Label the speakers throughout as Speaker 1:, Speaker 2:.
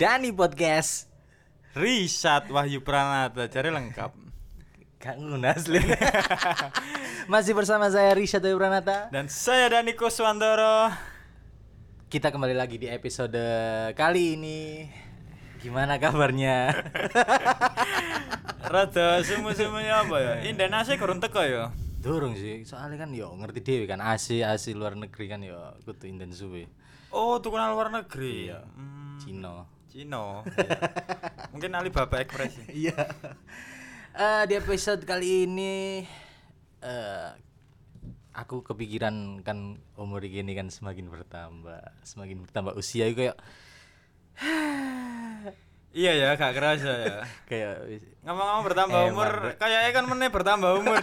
Speaker 1: Dani Podcast
Speaker 2: Risat Wahyu Pranata cari lengkap
Speaker 1: Gak nguna asli Masih bersama saya Risha Dewi Pranata
Speaker 2: dan saya Dani Kuswantoro
Speaker 1: Kita kembali lagi di episode kali ini Gimana kabarnya?
Speaker 2: rada semu-semunya apa ya indah nasi kurang teko ya
Speaker 1: Durung sih, soalnya kan yo ngerti dewe kan asi asi luar negeri kan yo kutu inden suwe.
Speaker 2: oh tukunan luar negeri Hmm,
Speaker 1: Cino.
Speaker 2: Cino Iya. mungkin Alibaba Express ya.
Speaker 1: Iya. Eh, di episode kali ini eh aku kepikiran kan umur gini kan semakin bertambah, semakin bertambah usia itu kayak
Speaker 2: iya ya gak kerasa ya
Speaker 1: kayak
Speaker 2: ngomong-ngomong bertambah umur kayaknya kan meneh bertambah umur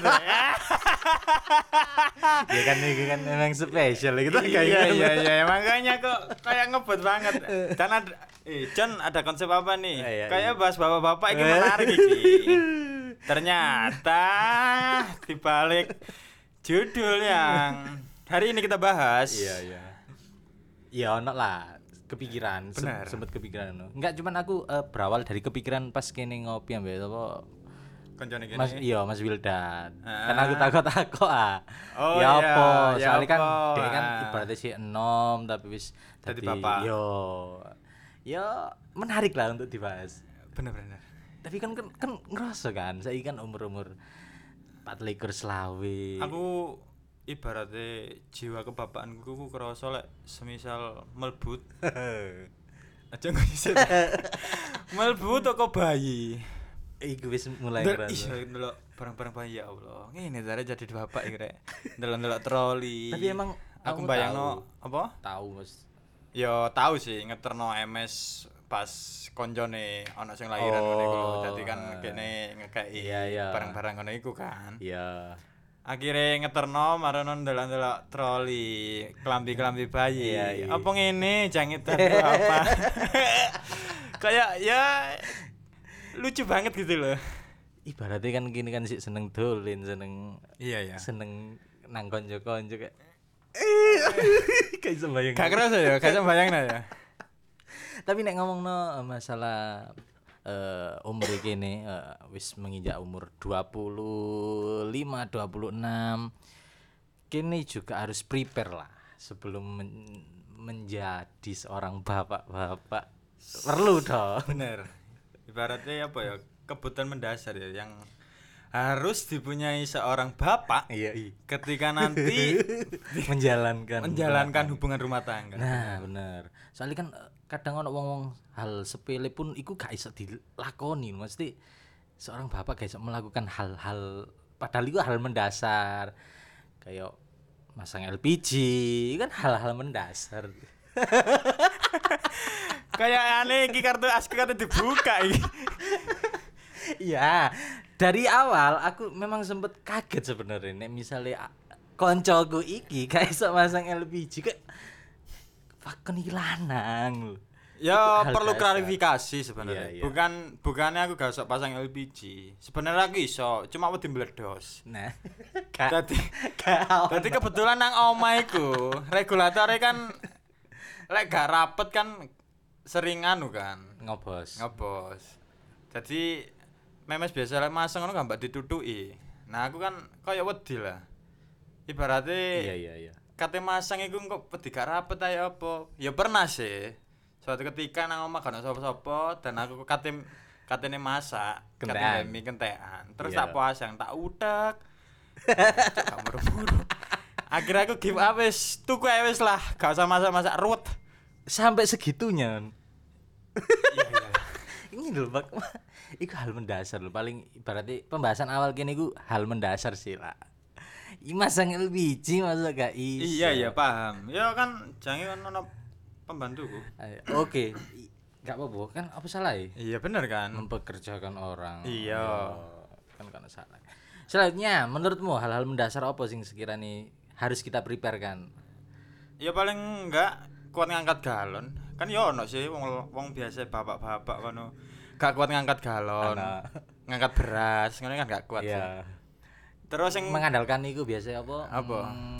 Speaker 1: ya kan ini kan emang spesial gitu
Speaker 2: iya
Speaker 1: kayak
Speaker 2: iya iya makanya kok kayak ngebut banget dan ada eh John ada konsep apa nih
Speaker 1: Iya, iya,
Speaker 2: kayak bahas bapak-bapak ini menarik iki ternyata dibalik judul yang hari ini kita bahas
Speaker 1: Iya iya. Ya ono lah kepikiran, se-
Speaker 2: Benar.
Speaker 1: sempet kepikiran. no. Enggak cuman aku eh, berawal dari kepikiran pas kene ngopi ambek apa
Speaker 2: Koncone gini.
Speaker 1: Mas iya Mas Wildan.
Speaker 2: Ah.
Speaker 1: Karena aku takut aku ah.
Speaker 2: Oh,
Speaker 1: ya
Speaker 2: iya,
Speaker 1: apa?
Speaker 2: ya
Speaker 1: Soalnya kan
Speaker 2: apa,
Speaker 1: dia kan
Speaker 2: ah.
Speaker 1: ibaratnya si enom tapi wis
Speaker 2: Dadi
Speaker 1: dadi
Speaker 2: bapak.
Speaker 1: Yo. Yo menarik lah untuk dibahas.
Speaker 2: bener bener
Speaker 1: Tapi kan kan, kan ngerasa kan saya kan umur-umur 4 likur
Speaker 2: Iya.
Speaker 1: selawi.
Speaker 2: aku ibaratnya jiwa kebapaanku ku kerasa lek semisal melbut aja nggak bisa melbut toko bayi
Speaker 1: Iku wis mulai
Speaker 2: Ndelok-
Speaker 1: ngerasa.
Speaker 2: iya ndelok barang-barang bayi ya Allah. Ngene cara jadi bapak iki rek. Ndelok-ndelok troli.
Speaker 1: Tapi emang
Speaker 2: aku
Speaker 1: kamu
Speaker 2: bayangno apa?
Speaker 1: tahu mas
Speaker 2: Ya tahu sih ngeterno MS pas konjone ana sing lahiran ngono iku lho.
Speaker 1: Oh.
Speaker 2: Dadi kan kene ngekeki
Speaker 1: Iya, iya.
Speaker 2: barang-barang ngono iku kan.
Speaker 1: iya
Speaker 2: Akhirnya ngeterno marono ndelok-ndelok troli, kelambi-kelambi bayi.
Speaker 1: Iya, iya.
Speaker 2: Apa ngene jangitan ku apa? Kayak ya lucu banget gitu loh.
Speaker 1: ibaratnya kan gini kan sih seneng dolin seneng
Speaker 2: Iya ya.
Speaker 1: seneng nang konco konco kayak
Speaker 2: Iya.
Speaker 1: kayak sembayang
Speaker 2: Gak kerasa ya, gak bayang ya.
Speaker 1: tapi nek ngomong no masalah eh umur iki nih eh, wis menginjak umur 25 26 kini juga harus prepare lah sebelum men- menjadi seorang bapak-bapak perlu dong
Speaker 2: Bener. Ibaratnya apa ya? Kebutuhan mendasar ya yang harus dipunyai seorang bapak
Speaker 1: iya iya
Speaker 2: ketika nanti
Speaker 1: menjalankan
Speaker 2: menjalankan hubungan rumah tangga.
Speaker 1: Nah, bener. Soalnya kan eh, kadang ono wong-wong hal sepele pun iku gak iso dilakoni, mesti seorang bapak gak iso melakukan hal-hal padahal itu hal mendasar. Kayak masang LPG, itu kan hal-hal mendasar.
Speaker 2: Kayak aneh iki kartu asli kartu dibuka iki.
Speaker 1: Iya, dari awal aku memang sempet kaget sebenarnya nek misalnya a- koncoku iki gak iso masang LPG kayak pakon iki lanang. lho."
Speaker 2: Ya
Speaker 1: Hal
Speaker 2: perlu
Speaker 1: dasar.
Speaker 2: klarifikasi sebenarnya.
Speaker 1: Iya, iya.
Speaker 2: Bukan bukannya aku gak sok pasang LPG. Sebenarnya aku iso, cuma aku meledos.
Speaker 1: Nah,
Speaker 2: Tadi
Speaker 1: kau
Speaker 2: Berarti kebetulan nang omaiku regulatornya kan lek gak rapet kan sering anu kan
Speaker 1: ngobos.
Speaker 2: ngobos. Jadi memes biasa lek masang ngono gak mbak ditutuki. Nah aku kan kaya wedi lah.
Speaker 1: Iya
Speaker 2: Ibaratnya
Speaker 1: iya iya.
Speaker 2: kate masang iku kok wedi gak rapet ae apa? Ya pernah sih. Suatu ketika nang omah gak ono sapa-sapa dan aku kate katene masak,
Speaker 1: Kentekan.
Speaker 2: katene mie kentekan. Terus
Speaker 1: Iya.
Speaker 2: tak pasang, tak utek. Gak buru-buru. Akhirnya aku give up wis, tuku ae wis lah, gak usah masak-masak ruwet.
Speaker 1: Sampai segitunya.
Speaker 2: Iya iya.
Speaker 1: Ini lho, Pak. Iku hal mendasar lho. Paling ibaratnya pembahasan awal kene iku hal mendasar sih lah. Iki masang LPG masa gak iso.
Speaker 2: Iya iya paham. Ya kan jange ono pembantuku.
Speaker 1: Ayo, Oke. I- Gak apa-apa kan apa salah ya?
Speaker 2: Iya bener kan?
Speaker 1: Mempekerjakan orang.
Speaker 2: Iya.
Speaker 1: Yo, Kan kan salah. Selanjutnya, menurutmu hal-hal mendasar apa sing sekiranya harus kita prepare kan?
Speaker 2: Ya paling enggak kuat ngangkat galon. Kan ya ono sih wong wong biasa bapak-bapak kono. Gak kuat ngangkat galon.
Speaker 1: Ana.
Speaker 2: Ngangkat
Speaker 1: Iya.
Speaker 2: beras, ngono kan gak kuat. sih. Terus yang
Speaker 1: Mengandalkan itu biasanya apa?
Speaker 2: Apa?
Speaker 1: Hmm,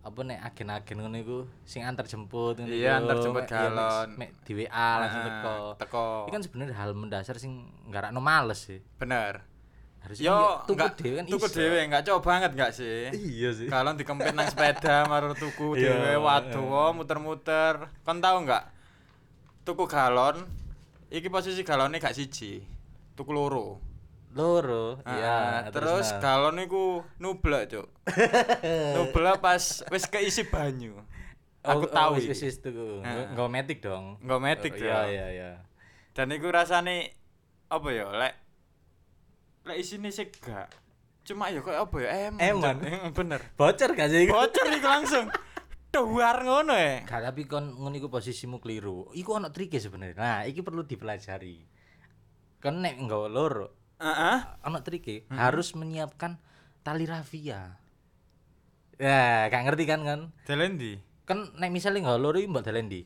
Speaker 1: apa nek agen-agen ngono iku sing antar jemput ngono
Speaker 2: Iya,
Speaker 1: iku,
Speaker 2: antar jemput
Speaker 1: mek- iya, mek-
Speaker 2: galon.
Speaker 1: mek di WA langsung
Speaker 2: Ah,
Speaker 1: teko.
Speaker 2: teko.
Speaker 1: Iki kan sebenarnya hal mendasar sing nggarakno males sih.
Speaker 2: Bener.
Speaker 1: Harusnya ya
Speaker 2: Yo,
Speaker 1: tuku
Speaker 2: nggak
Speaker 1: dhewe kan
Speaker 2: tuku
Speaker 1: iso.
Speaker 2: dhewe nggak coba banget nggak sih?
Speaker 1: Iya sih.
Speaker 2: Kalau dikempit nang sepeda marur tuku
Speaker 1: Iya,
Speaker 2: dhewe waduh wo, muter-muter. Kon tau nggak? Tuku galon iki posisi galone gak siji. Tuku loro.
Speaker 1: Loro.
Speaker 2: Ah, terus
Speaker 1: nah.
Speaker 2: galon iku nublek, Cuk. nublek pas wis keisi banyu.
Speaker 1: Oh,
Speaker 2: Aku
Speaker 1: oh,
Speaker 2: tahu.
Speaker 1: wis wis
Speaker 2: iki.
Speaker 1: wis tuku.
Speaker 2: Heeh.
Speaker 1: Nggo metik dong.
Speaker 2: Nggo metik
Speaker 1: Oh, Iya
Speaker 2: dong.
Speaker 1: iya iya.
Speaker 2: Dan iku rasane apa ya lek lek isine sih gak. Cuma ya kok apa ya em
Speaker 1: Eman.
Speaker 2: bener.
Speaker 1: Bocor gak sih iku?
Speaker 2: bocor iku langsung duar ngono e. ya
Speaker 1: Gak tapi kon ngono iku posisimu keliru. Iku ono trike sebenarnya. Nah, iki perlu dipelajari. Kon nek nggawa loro,
Speaker 2: heeh
Speaker 1: ono trike harus menyiapkan tali rafia. Ya, gak ngerti kan kan?
Speaker 2: Delendi
Speaker 1: Kan nek misalnya nggawa loro iki mbok dalan di.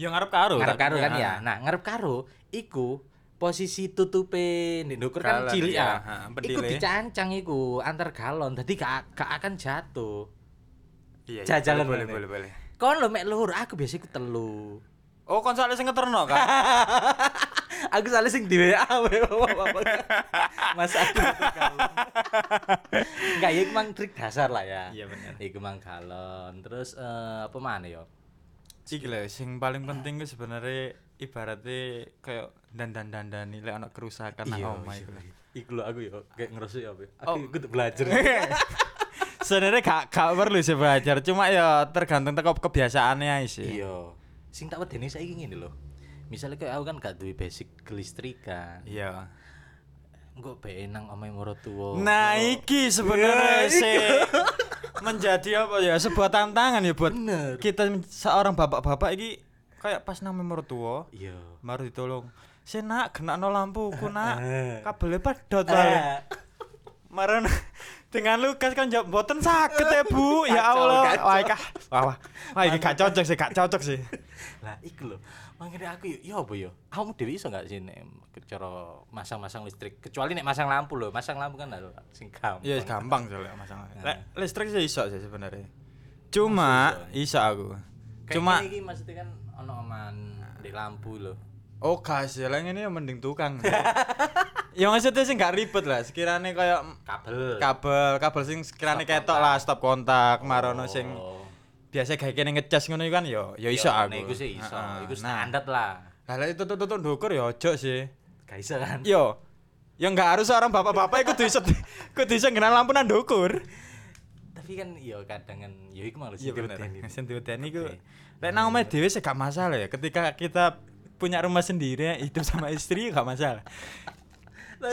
Speaker 2: ya ngarep karo
Speaker 1: Ngarep karo kan
Speaker 2: tapi-
Speaker 1: ya. Nah, ngarep karo iku posisi tutupe ndek ndukur kan
Speaker 2: Galon,
Speaker 1: cilik
Speaker 2: iya.
Speaker 1: ya.
Speaker 2: Ha,
Speaker 1: Iku
Speaker 2: pendile.
Speaker 1: dicancang iku antar galon, dadi gak gak akan jatuh.
Speaker 2: iya, iya,
Speaker 1: Jajalan
Speaker 2: boleh boleh
Speaker 1: mana?
Speaker 2: boleh, boleh.
Speaker 1: Kon lho mek luhur, aku biasa iku telu.
Speaker 2: oh kon soalnya sing ngeterno kan
Speaker 1: aku soalnya sing di WA we, bapak-bapak. Mas aku itu galon. Enggak ya iku mang trik dasar lah ya.
Speaker 2: Iya, bener.
Speaker 1: Iku mang galon. Terus eh, apa mana ya?
Speaker 2: iki lho sing paling penting ku sebenarnya ibaratnya kayak dandan dandan lek ana kerusakan
Speaker 1: Iya,
Speaker 2: nang omah iku lho.
Speaker 1: Iku lho aku ya kayak ngerasa ya. Be.
Speaker 2: Oh.
Speaker 1: Aku ikut belajar.
Speaker 2: sebenarnya gak gak perlu sih belajar cuma ya tergantung teko kebiasaannya ae sih
Speaker 1: iya. Sing tak wedeni saiki ngene lho. Misalnya kayak aku kan gak duwe basic kelistrikan.
Speaker 2: iya
Speaker 1: Engko bae nang omahe moro tuwa.
Speaker 2: nah iki sebenarnya
Speaker 1: Iya,
Speaker 2: sih menjadi apa ya sebuah tantangan ya buat
Speaker 1: bener.
Speaker 2: kita men- seorang bapak-bapak iki kayak pas nang mertua
Speaker 1: Iya.
Speaker 2: baru ditolong sih nak kena no lampuku nak
Speaker 1: Eh.
Speaker 2: kabelnya pedot lah Maren dengan Lukas kan jawab boten sakit ya bu ya
Speaker 1: Kacau,
Speaker 2: Allah
Speaker 1: kacau.
Speaker 2: wah kah wah wah wah ini gak cocok sih gak cocok sih
Speaker 1: Lah iku lho. Mangkene aku yo yo apa yo? Kamu dhewe iso gak sih nek ke- cara masang-masang listrik? Kecuali nek masang lampu lho. Masang lampu kan lho sing gampang.
Speaker 2: ya gampang sih lah masalahnya Le- listrik sih iso sih sebenarnya cuma iso iya. aku
Speaker 1: Kayak
Speaker 2: cuma
Speaker 1: ngene iki maksudnya kan ono oman di lampu lho.
Speaker 2: oh kasih lah ini yang mending tukang sih. ya maksudnya sih gak ribet lah sekiranya kayak
Speaker 1: Kabel.
Speaker 2: kabel kabel sing sekiranya ketok lah stop kontak marono sing
Speaker 1: Oh.
Speaker 2: biasa kayak kene ngecas ngono iku kan yo yo iso
Speaker 1: Yo,
Speaker 2: aku
Speaker 1: Nek iku sih iso.
Speaker 2: Heeh.
Speaker 1: Iku
Speaker 2: nah
Speaker 1: standar lah.
Speaker 2: lah lek tutup-tutup ndukur yo ojo sih
Speaker 1: Gak iso kan?
Speaker 2: yo yo enggak harus orang bapak-bapak iku kudu iso kudu iso ngenal lampu nang ndukur
Speaker 1: Tapi kan yo kadang kan yo iku malah
Speaker 2: iya
Speaker 1: sing
Speaker 2: bener
Speaker 1: diwedeni.
Speaker 2: sing diwedeni iku
Speaker 1: Oke.
Speaker 2: lek nang omah dhewe sih gak masalah ya ketika kita punya rumah sendiri hidup sama istri gak masalah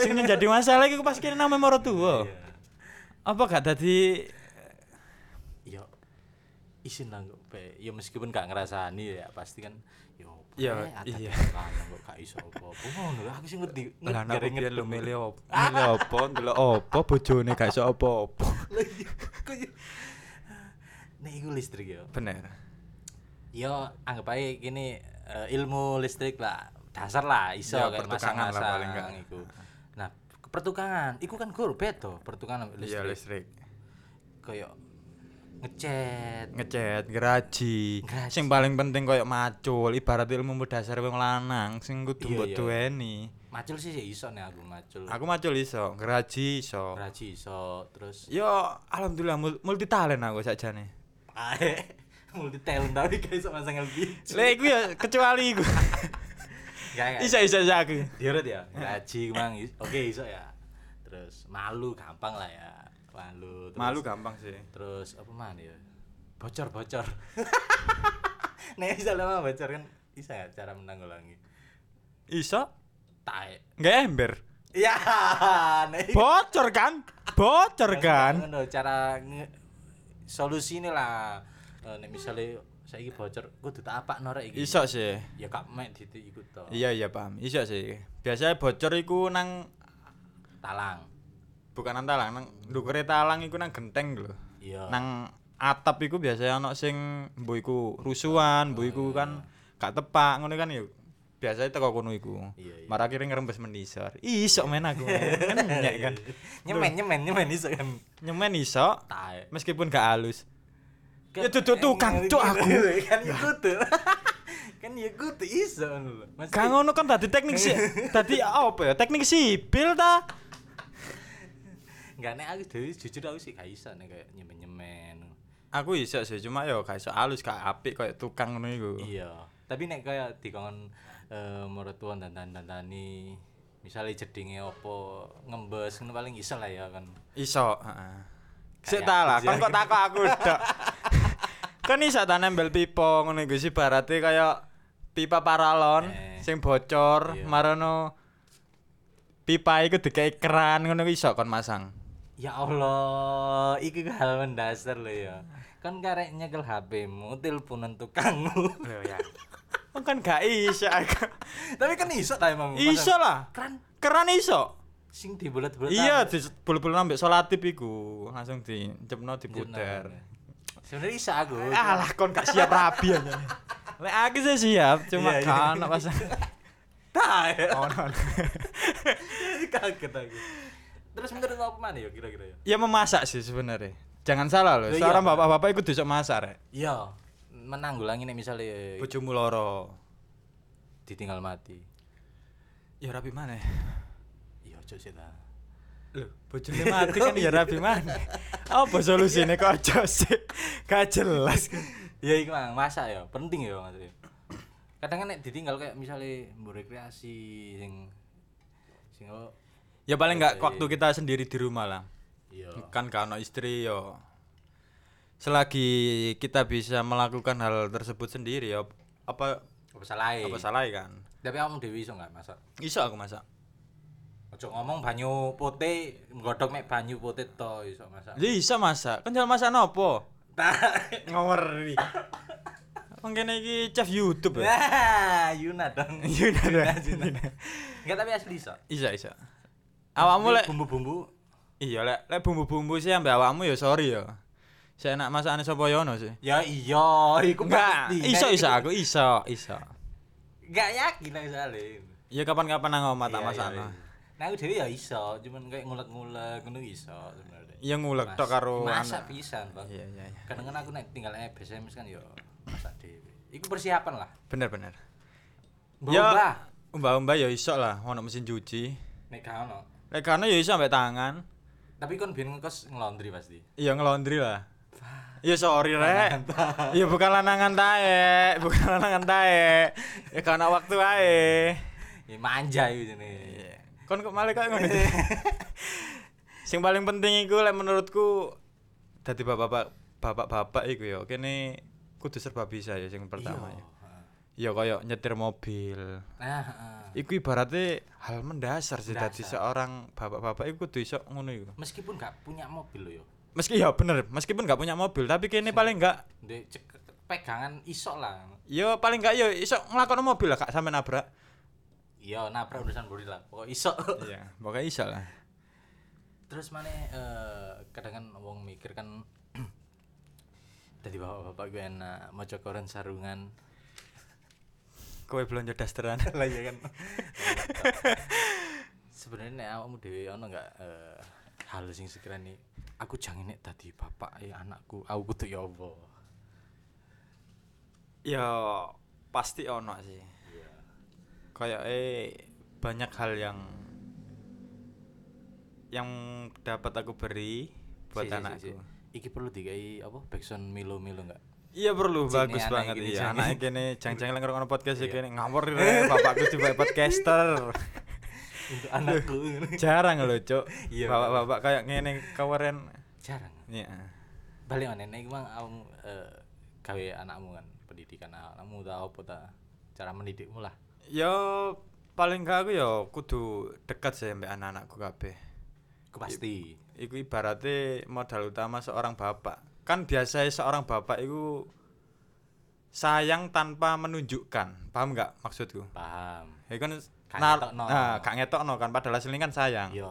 Speaker 2: sing jadi masalah iku pas kene nang omah tuwa
Speaker 1: Iya.
Speaker 2: apa gak dadi
Speaker 1: Yo isin lah kok pe. Ya meskipun gak ngerasani ya pasti kan yo
Speaker 2: Iya, iya.
Speaker 1: iya. Kok gak iso apa-apa. Ngono lho, aku sih ngerti.
Speaker 2: Lah anak
Speaker 1: ngerti-
Speaker 2: pian lu milih opo? Milih opo? Ndelok opo bojone gak iso apa-apa.
Speaker 1: Lah iya, kok iya. Nek iku listrik yo.
Speaker 2: Bener.
Speaker 1: Yo anggap aja gini eh, ilmu listrik lah dasar lah iso
Speaker 2: Ya, pertukangan
Speaker 1: kayak
Speaker 2: lah
Speaker 1: masang-masang
Speaker 2: paling nggak.
Speaker 1: iku. Nah, ke- pertukangan iku kan guru beto pertukangan
Speaker 2: Iya
Speaker 1: listrik.
Speaker 2: listrik.
Speaker 1: Kayak ngecat
Speaker 2: Ngecat, geraji.
Speaker 1: Ngeraji.
Speaker 2: Sing paling penting koyo macul, ibarat ilmu dasar wong lanang sing kudu
Speaker 1: Iya,
Speaker 2: mbok
Speaker 1: iya.
Speaker 2: duweni.
Speaker 1: macul sih ya iso nih aku macul.
Speaker 2: Aku macul iso, geraji iso.
Speaker 1: Raji iso terus
Speaker 2: Yo, alhamdulillah mul- multi talent aku sakjane.
Speaker 1: multi talent tapi gak iso masang LB.
Speaker 2: Lek iku ya kecuali iku.
Speaker 1: Gak
Speaker 2: iso iso iso aku.
Speaker 1: Diurut ya? Raji mang is- oke iso ya. Terus malu gampang lah ya. Malu terus
Speaker 2: Malu gampang sih.
Speaker 1: terus apa mana ya bocor bocor nek bisa lama bocor kan bisa ya cara menanggulangi
Speaker 2: Iso?
Speaker 1: tae
Speaker 2: Nggak ember.
Speaker 1: ya nek
Speaker 2: Bocor kan? Bocor kan?
Speaker 1: Ngono, cara nge- solusi ini lah Eh, nek misalnya saya bocor kudu tak apa norek iki
Speaker 2: Iso sih.
Speaker 1: ya kak mek titik ikut to
Speaker 2: Iya iya paham. Iso sih. Biasanya bocor iku nang
Speaker 1: talang
Speaker 2: bukan nang talang, nang ndukure talang iku nang genteng lho.
Speaker 1: iya
Speaker 2: Nang atap iku biasanya ana sing mbuh iku rusuhan, mbuh iku kan gak tepak ngono kan ya. Biasanya teko kono iku.
Speaker 1: Iya, iya.
Speaker 2: Marah kira ngerembes mendisor. Iso men aku. Kan nyek
Speaker 1: Iya
Speaker 2: kan.
Speaker 1: nyemen nyemen nyemen iso kan
Speaker 2: Nyemen iso
Speaker 1: tae
Speaker 2: meskipun gak halus. Ya, duduk tukang, cuk, aku.
Speaker 1: Kan ya kudu. Kan ya kudu iso ngono lho. Mas.
Speaker 2: Gak ngono kan tadi teknik sih. Tadi apa ya? Teknik sipil ta?
Speaker 1: Enggak nek aku dhewe jujur aku sih gak iso nek kayak nyemen-nyemen.
Speaker 2: Aku iso sih, cuma yo gak iso alus, gak apik kayak tukang ngono iku.
Speaker 1: Iya. Tapi nek kaya dikon eh mertua dan dandani misalnya jedinge opo ngembes ngono paling iso lah ya kan.
Speaker 2: Iso, heeh. Sik
Speaker 1: Kayak
Speaker 2: ta lah,
Speaker 1: aku
Speaker 2: kon kok takok aku dok. kan iso ta nembel pipa ngono iku sih barate kaya pipa paralon
Speaker 1: Eh.
Speaker 2: sing bocor
Speaker 1: Iya.
Speaker 2: marono pipa iku dikai keran ngono iku iso kon masang.
Speaker 1: Ya Allah, iki ku hal mendasar lho ya. Kan karek nyekel HP-mu, teleponan tukangmu.
Speaker 2: Lho ya. Oh kan gak iso aku.
Speaker 1: Tapi kan iso ta emang.
Speaker 2: Iso lah.
Speaker 1: Keren
Speaker 2: Keran iso.
Speaker 1: sing dibulat-bulat.
Speaker 2: Iya, di bulu-bulu ambek solatip iku, langsung dicepno diputer.
Speaker 1: Sebenarnya iso aku.
Speaker 2: Alah kon gak siap rabi aja. Lek aku sih siap, cuma
Speaker 1: Iya, iya.
Speaker 2: kan pas
Speaker 1: Tah.
Speaker 2: ono.
Speaker 1: Kaget aku. Terus menurut apa mana ya kira-kira ya?
Speaker 2: Ya memasak sih sebenarnya. Jangan salah loh,
Speaker 1: Loh, iya,
Speaker 2: seorang
Speaker 1: Pak.
Speaker 2: bapak-bapak iku dhisik masak rek.
Speaker 1: Iya, menanggulangi nek misalnya
Speaker 2: Iya. Bojomu lara.
Speaker 1: ditinggal mati.
Speaker 2: Ya rabi mana?
Speaker 1: Iya, ojo sih ta.
Speaker 2: Loh, bojone mati kan Iya. ya rabi mana? Apa solusinya kok aja sih? Gak jelas.
Speaker 1: Ya iku mang, masak ya, penting ya maksudnya. Kadang kan nek ditinggal kayak misalnya mbok rekreasi sing sing apa?
Speaker 2: Ya paling nggak waktu kita sendiri di rumah lah.
Speaker 1: Iya.
Speaker 2: Kan kalau istri yo. Selagi kita bisa melakukan hal tersebut sendiri ya apa
Speaker 1: Apa salah?
Speaker 2: apa salah kan?
Speaker 1: Tapi kamu dewi iso enggak masak?
Speaker 2: Iso aku masak.
Speaker 1: Ojo ngomong banyu putih, nggodhog mek banyu putih to iso masak.
Speaker 2: Lha iso masak. Kan jalan masak nopo? Ngaweri. Mungkin iki chef YouTube ya.
Speaker 1: Nah, Yuna dong.
Speaker 2: Yuna dong. Yuna.
Speaker 1: Enggak tapi asli iso.
Speaker 2: Iso iso. Awakmu lek
Speaker 1: bumbu-bumbu
Speaker 2: iya lek lek bumbu-bumbu sih ambek awakmu ya sorry ya. Saya enak masakane sapa ya ono sih.
Speaker 1: Ya iya, iku
Speaker 2: Enggak,
Speaker 1: pasti.
Speaker 2: iso
Speaker 1: Nek-
Speaker 2: iso aku iso iso.
Speaker 1: Enggak yakin aku salin.
Speaker 2: Ya kapan-kapan nang omah tak masakno.
Speaker 1: Nah, aku dhewe ya iso, cuman kayak ngulek-ngulek ngono iso sebenarnya.
Speaker 2: Ya ngulek tok karo
Speaker 1: masak
Speaker 2: anak.
Speaker 1: pisan, Pak.
Speaker 2: Iya iya iya.
Speaker 1: Kadang kan aku nek tinggal BSMS kan ya masak dhewe. Iku persiapan lah.
Speaker 2: Bener bener. Ya.
Speaker 1: Mbah,
Speaker 2: Umbah-umbah ya iso lah ono mesin cuci.
Speaker 1: nek gak ono.
Speaker 2: Lek gak ono ya iso ambek tangan.
Speaker 1: Tapi kon biyen ngekos ngelondri pasti.
Speaker 2: Ya ngelondri lah. Ya sorry rek. Ya bukan lanangan tae, bukan lanangan tae. Ya karena waktu ae.
Speaker 1: Ya manja iku jenenge.
Speaker 2: Iya. Kon kok malah kok ngono. Sing paling penting iku lek menurutku dadi bapak-bapak bapak-bapak iku ya kene kudu serba bisa ya sing pertama ya.
Speaker 1: Heeh.
Speaker 2: Ya koyo nyetir mobil.
Speaker 1: Nah, heeh.
Speaker 2: Iku ibaratnya hal mendasar sih dadi
Speaker 1: Mendasar.
Speaker 2: seorang bapak-bapak iku kudu iso ngono iku.
Speaker 1: meskipun gak punya mobil lo yo.
Speaker 2: Meski ya bener, meskipun gak punya mobil tapi kene paling gak
Speaker 1: Ndek cek- pegangan iso lah.
Speaker 2: Yo paling gak yo iso nglakokno mobil lah gak sampe nabrak.
Speaker 1: Iya, nabrak urusan buri lah. Pokok iso.
Speaker 2: Iya, pokoknya iso lah.
Speaker 1: Terus mana eh kadang kan wong mikir kan dari bapak-bapak gue enak mau cokoran sarungan
Speaker 2: Kowe belanja dasteran.
Speaker 1: lah ya kan sebenarnya nek awakmu dhewe ono nggak eh, hal sing sekiranya aku jangan nek tadi bapak ya anakku aku kudu ya apa
Speaker 2: ya pasti ono sih. Kayak eh banyak hal yang yang dapat aku beri buat
Speaker 1: Si, si, si,
Speaker 2: anakku.
Speaker 1: si. iki perlu dikai apa backsound milo-milo enggak
Speaker 2: Iya perlu
Speaker 1: Sini
Speaker 2: bagus
Speaker 1: anak
Speaker 2: banget
Speaker 1: gini,
Speaker 2: iya.
Speaker 1: sini.
Speaker 2: Anak kene jang-jang lek ngrungokno podcast iki kene ngawur rek bapakku sebagai podcaster.
Speaker 1: untuk anakku
Speaker 2: Jarang lho, Cuk.
Speaker 1: Iya,
Speaker 2: Bapak-bapak kayak ngene kaweren.
Speaker 1: jarang
Speaker 2: Iya.
Speaker 1: balik mana nek emang awakmu eh, gawe anakmu kan pendidikan anakmu ta apa ta cara mendidikmu lah
Speaker 2: Ya paling gak aku ya kudu dekat sih mbak anak-anakku kabeh. Iya.
Speaker 1: Ku pasti
Speaker 2: Iku ibaratnya modal utama seorang bapak. Kan biasanya seorang bapak itu sayang tanpa menunjukkan. Paham nggak maksudku?
Speaker 1: paham
Speaker 2: Ya kan
Speaker 1: Gak
Speaker 2: nar-
Speaker 1: ngetokno. Iya.
Speaker 2: nah, gak ngetokno kan padahal aslinya kan sayang.
Speaker 1: yo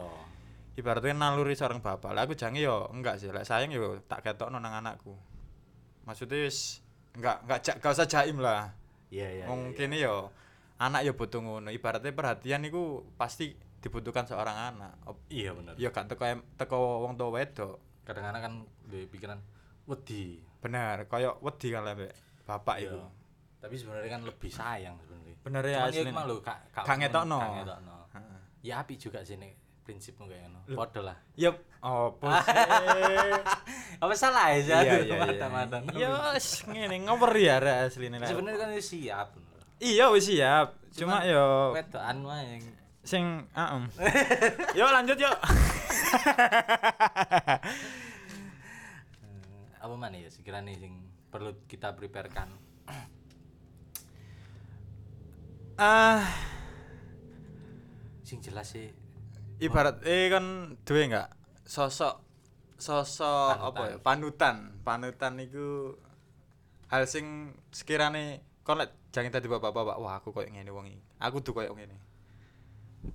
Speaker 2: Ibaratnya naluri seorang bapak. Lah aku jange yo enggak sih. Lah sayang yo tak ketokno nang anakku. Maksudnya wis enggak enggak ja- gak usah jaim lah.
Speaker 1: iya iya
Speaker 2: Wong kene yo anak yo butuh ngono. Ibaratnya perhatian iku pasti dibutuhkan seorang anak. Op-
Speaker 1: iya bener
Speaker 2: Yo gak teko em- teko wong tua wedok.
Speaker 1: kadang-kadang kan duwe pikiran wedi.
Speaker 2: bener koyo wedi kan lek bapak
Speaker 1: Iya.
Speaker 2: iku
Speaker 1: Tapi sebenarnya kan lebih sayang sebenarnya.
Speaker 2: bener ya
Speaker 1: Cuman ya
Speaker 2: asline
Speaker 1: iku mah lho, kak kak
Speaker 2: Gak ngetokno.
Speaker 1: Gak ngetokno.
Speaker 2: Heeh.
Speaker 1: Ya api juga sih nek prinsipmu kayak ngono.
Speaker 2: Lho.
Speaker 1: Padha lah.
Speaker 2: Yup, opo
Speaker 1: Ah.
Speaker 2: sih?
Speaker 1: Apa salah ya?
Speaker 2: Iya, iya, iya.
Speaker 1: mata-mata.
Speaker 2: Iya, wis ngene ngoper ya rek asline lek.
Speaker 1: Sebenarnya kan wis siap.
Speaker 2: Iya wis siap. Cuma
Speaker 1: Cuman-
Speaker 2: yo
Speaker 1: Wedokan wae yang
Speaker 2: sing heeh. Yo lanjut yo.
Speaker 1: Eh, apa mana ya sekiranya sing perlu kita preparekan.
Speaker 2: Ah,
Speaker 1: Sing jelas sih
Speaker 2: ibarat eh kan duwe enggak sosok sosok
Speaker 1: Panutan.
Speaker 2: apa ya? Panutan. Panutan iku hal sing sekirane kon lek jangan tadi bapak-bapak, wah aku koyo ngene wong iki. Aku tuh koyo ngene.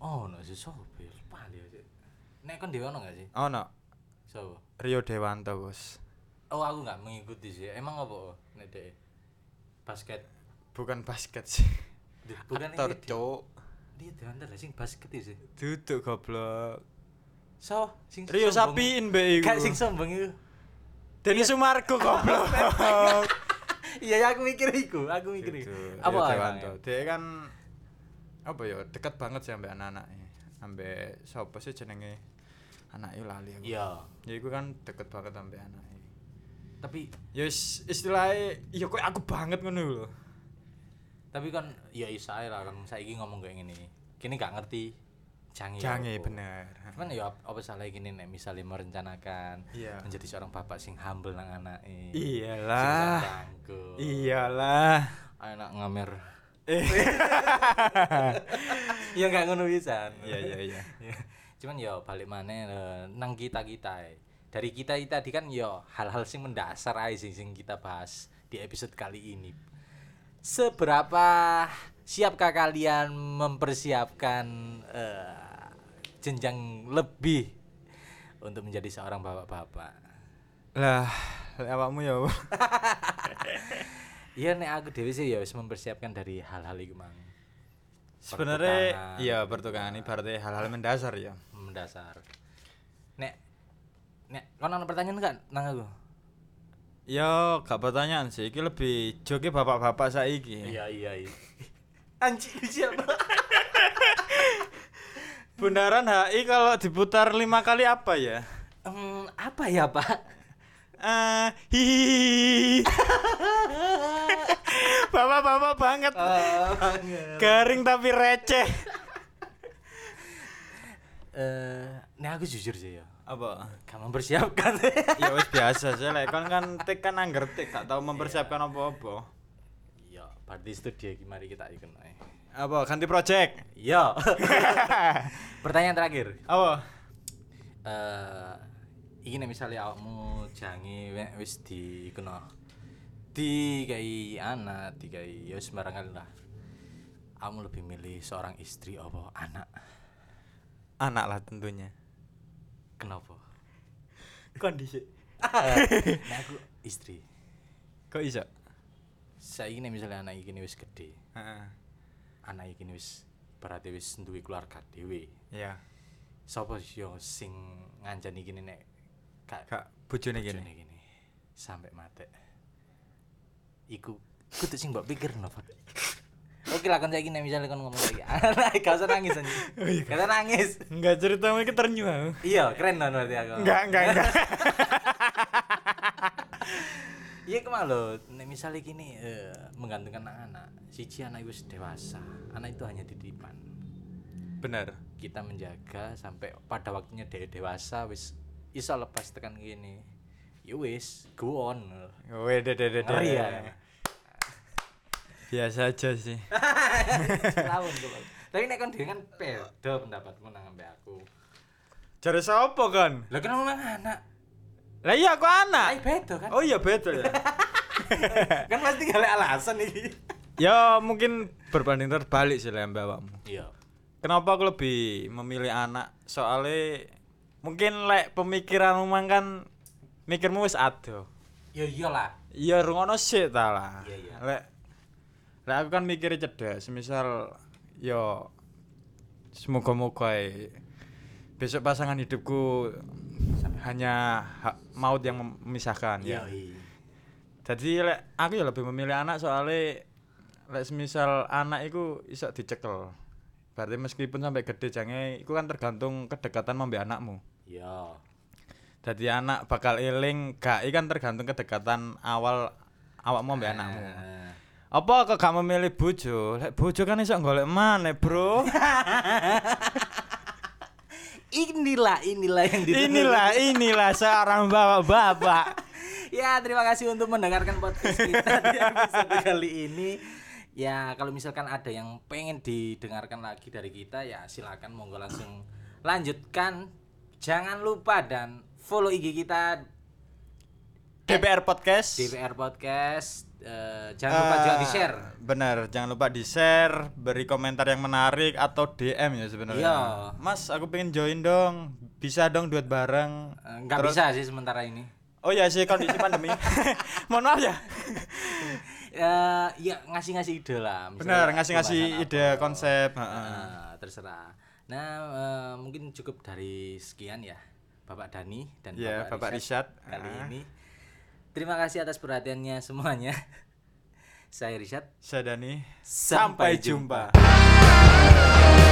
Speaker 1: oh no sih sopo ya lupa lho sih. Nek kon dhewe ono gak sih?
Speaker 2: Oh no,
Speaker 1: Sopo?
Speaker 2: Rio Dewanto, Gus.
Speaker 1: Oh aku nggak mengikuti sih. Emang apa oh, nek dhek basket
Speaker 2: Bukan basket sih.
Speaker 1: Duh,
Speaker 2: Aktor,
Speaker 1: iki,
Speaker 2: Cuk.
Speaker 1: Dia diantar lah, sing basket iki sih.
Speaker 2: Duduk goblok.
Speaker 1: So, sing
Speaker 2: Rio
Speaker 1: sombong.
Speaker 2: Sapiin mbek iku.
Speaker 1: Gak sing sombong iku.
Speaker 2: Denny Sumargo goblok.
Speaker 1: Iya, ya aku mikir iku, aku mikir iku. Apa
Speaker 2: Dewanto?
Speaker 1: orangnya?
Speaker 2: Dia kan apa ya dekat banget sih ambek anak-anaknya. Ambek sapa sih jenenge? Anaknya lali aku.
Speaker 1: Iya,
Speaker 2: Ya iku kan deket banget ambek anaknya.
Speaker 1: tapi
Speaker 2: Ya is- istilahnya ya kok aku banget ngono lho.
Speaker 1: tapi kan ya iso ae lah orang saiki ngomong kayak ngene. Kini gak ngerti jange.
Speaker 2: Jange
Speaker 1: apa.
Speaker 2: bener.
Speaker 1: Cuman ya ap- apa salah gini nek misalnya merencanakan
Speaker 2: Iya.
Speaker 1: menjadi seorang bapak sing humble nang anake.
Speaker 2: Iyalah.
Speaker 1: Iya.
Speaker 2: Iyalah.
Speaker 1: Anak ngamer.
Speaker 2: Eh.
Speaker 1: Ya gak ngono pisan.
Speaker 2: Iya iya iya.
Speaker 1: Ya. Cuman ya balik maneh eh, nang kita-kita eh. Dari kita kita tadi kan ya hal-hal sing mendasar ae sing sing kita bahas di episode kali ini. Seberapa siapkah kalian mempersiapkan eh, jenjang lebih untuk menjadi seorang bapak-bapak?
Speaker 2: Lah, lek awakmu ya. apa?
Speaker 1: Iya nek aku dhewe sih ya wis mempersiapkan dari hal-hal iku mang
Speaker 2: Sebenarnya
Speaker 1: Pertukangan.
Speaker 2: iya pertukangan ibaratnya hal-hal mendasar ya.
Speaker 1: mendasar. Nek nek kon ana pertanyaan gak nang aku?
Speaker 2: Yo, Iya, gak pertanyaan sih. Iki lebih joki bapak-bapak saiki.
Speaker 1: Iya iya iya. Anjing siapa?
Speaker 2: Bundaran HI kalau diputar lima kali apa ya?
Speaker 1: Hmm, apa ya, Pak?
Speaker 2: Eh, hihihi. Bapak-bapak banget. iya. Garing tapi receh.
Speaker 1: Eh, nek aku jujur sih ya.
Speaker 2: Apa?
Speaker 1: Gak mempersiapkan.
Speaker 2: Ya wis biasa sih lek kon kan tik kan angger tik gak tau mempersiapkan apa-apa.
Speaker 1: Iya, berarti studi iki mari kita ikut ae.
Speaker 2: Apa ganti project?
Speaker 1: Iya. Pertanyaan terakhir.
Speaker 2: Apa?
Speaker 1: eh iki nek misale awakmu jange wek wis dikena dikai anak, dikai ya sembarang kali lah. Kamu lebih milih seorang istri apa anak?
Speaker 2: Anak lah tentunya.
Speaker 1: Kenapa?
Speaker 2: Kondisi.
Speaker 1: nah, aku istri.
Speaker 2: Kok iso?
Speaker 1: Saiki nek misale anak iki wis gede,
Speaker 2: Heeh.
Speaker 1: anak iki wis berarti wis duwe keluarga dhewe.
Speaker 2: Iya.
Speaker 1: Sapa yo sing ngancani gini nek gak
Speaker 2: Kak bojone
Speaker 1: Bojone
Speaker 2: gini.
Speaker 1: gini. Sampai mati. Iku kudu sing mbok pikir no, Pak. Oke lah kon saiki nek misale kon ngomong saiki. Gak usah nangis anjing. Gak usah nangis.
Speaker 2: Enggak ceritamu iki ternyu aku.
Speaker 1: Iya, keren non berarti aku.
Speaker 2: Enggak, enggak, enggak.
Speaker 1: Iya kemal lo. Nek misale gini eh, menggantungkan anak. Siji anak wis dewasa. Anak itu hanya titipan.
Speaker 2: Benar.
Speaker 1: Kita menjaga sampai pada waktunya dia dewasa wis iso lepas tekan gini. Ya wis, go on.
Speaker 2: Wede de de
Speaker 1: Ngeri ya.
Speaker 2: Biasa aja sih.
Speaker 1: Lawan coba. gitu. Tapi nek kon dhewe kan beda pendapatmu nang ambek aku.
Speaker 2: Cari siapa kan?
Speaker 1: Lah kenapa nang anak?
Speaker 2: Lah iya aku
Speaker 1: Ai
Speaker 2: anak.
Speaker 1: beda kan?
Speaker 2: Oh iya betul ya.
Speaker 1: kan pasti gak ada alasan iki.
Speaker 2: ya mungkin berbanding terbalik sih lah mbak awakmu.
Speaker 1: Iya.
Speaker 2: Kenapa aku lebih memilih anak? Soalnya mungkin lek pemikiranmu mang kan mikirmu wis ado.
Speaker 1: Ya iyalah.
Speaker 2: Iya rungono sih ta lah.
Speaker 1: Iya, iya.
Speaker 2: Lek lek aku kan mikirnya cerdas, misal yo semoga-moga ae besok pasangan hidupku
Speaker 1: Sampai
Speaker 2: hanya hak maut yang memisahkan ya.
Speaker 1: Yoi.
Speaker 2: Jadi lek aku ya lebih memilih anak soalnya lek semisal anak iku iso dicekel. Berarti meskipun sampai gede jange iku kan tergantung kedekatan mambe anakmu.
Speaker 1: Ya.
Speaker 2: Jadi anak bakal eling gak iku kan tergantung kedekatan awal awakmu mbek anakmu.
Speaker 1: Eh,
Speaker 2: Apa kok gak memilih bojo? Lek bojo kan iso golek maneh, Bro.
Speaker 1: inilah inilah yang ditunggu.
Speaker 2: inilah inilah seorang bapak-bapak.
Speaker 1: ya terima kasih untuk mendengarkan podcast kita di episode kali ini ya kalau misalkan ada yang pengen didengarkan lagi dari kita ya silakan monggo langsung lanjutkan jangan lupa dan follow IG kita
Speaker 2: DPR Podcast.
Speaker 1: DPR Podcast Eh, jangan lupa juga di share
Speaker 2: Eh, Bener, jangan lupa di share, beri komentar yang menarik atau DM ya sebenarnya.
Speaker 1: Iya.
Speaker 2: Mas, aku pengen join dong. Bisa dong duet bareng.
Speaker 1: Eh, nggak bisa sih sementara ini
Speaker 2: Oh iya sih kondisi pandemi. Mohon maaf ya.
Speaker 1: Eh, ya ngasih-ngasih ide lah misalnya ya,
Speaker 2: Bener, ngasih-ngasih
Speaker 1: pembahasan
Speaker 2: ide
Speaker 1: apa.
Speaker 2: konsep. heeh.
Speaker 1: Eh, terserah nah eh, mungkin cukup dari sekian ya Bapak Dani dan
Speaker 2: Iya, Bapak Rishad.
Speaker 1: kali
Speaker 2: Ah.
Speaker 1: ini. Terima kasih atas perhatiannya semuanya. Saya Richard.
Speaker 2: Saya Dani.
Speaker 1: Sampai jumpa.
Speaker 2: jumpa.